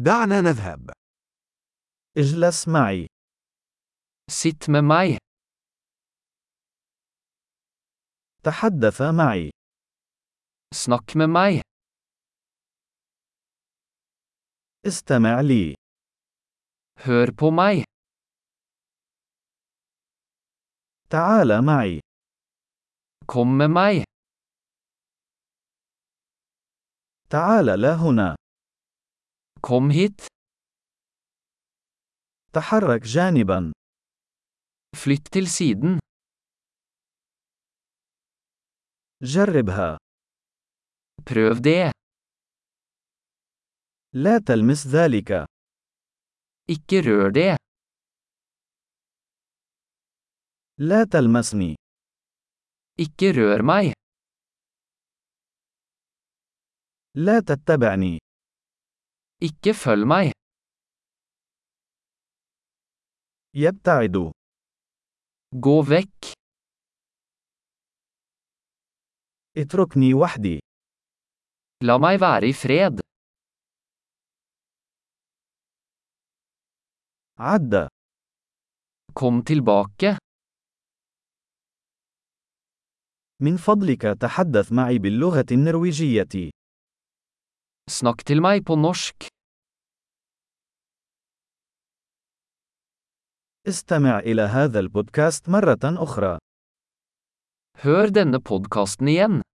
دعنا نذهب. اجلس معي. Sitt med meg. تحدث معي. Snakk med meg. استمع لي. Hør på meg. تعال معي. Kom med meg. تعال لا هنا. Kom hit. تحرك جانبا. Flytt til siden. جربها. Prøv det. لا تلمس ذلك. Ikke rør det. لا تلمسني. Ikke rør meg. لا تتبعني. Ikke følg meg. يبتعد. Gå vekk. اتركني وحدي. La meg være i fred. عد. Kom tilbake. من فضلك تحدث معي باللغة النرويجية. Snakk til meg på norsk. استمع إلى هذا البودكاست مرة أخرى. Hør denne podkasten igjen.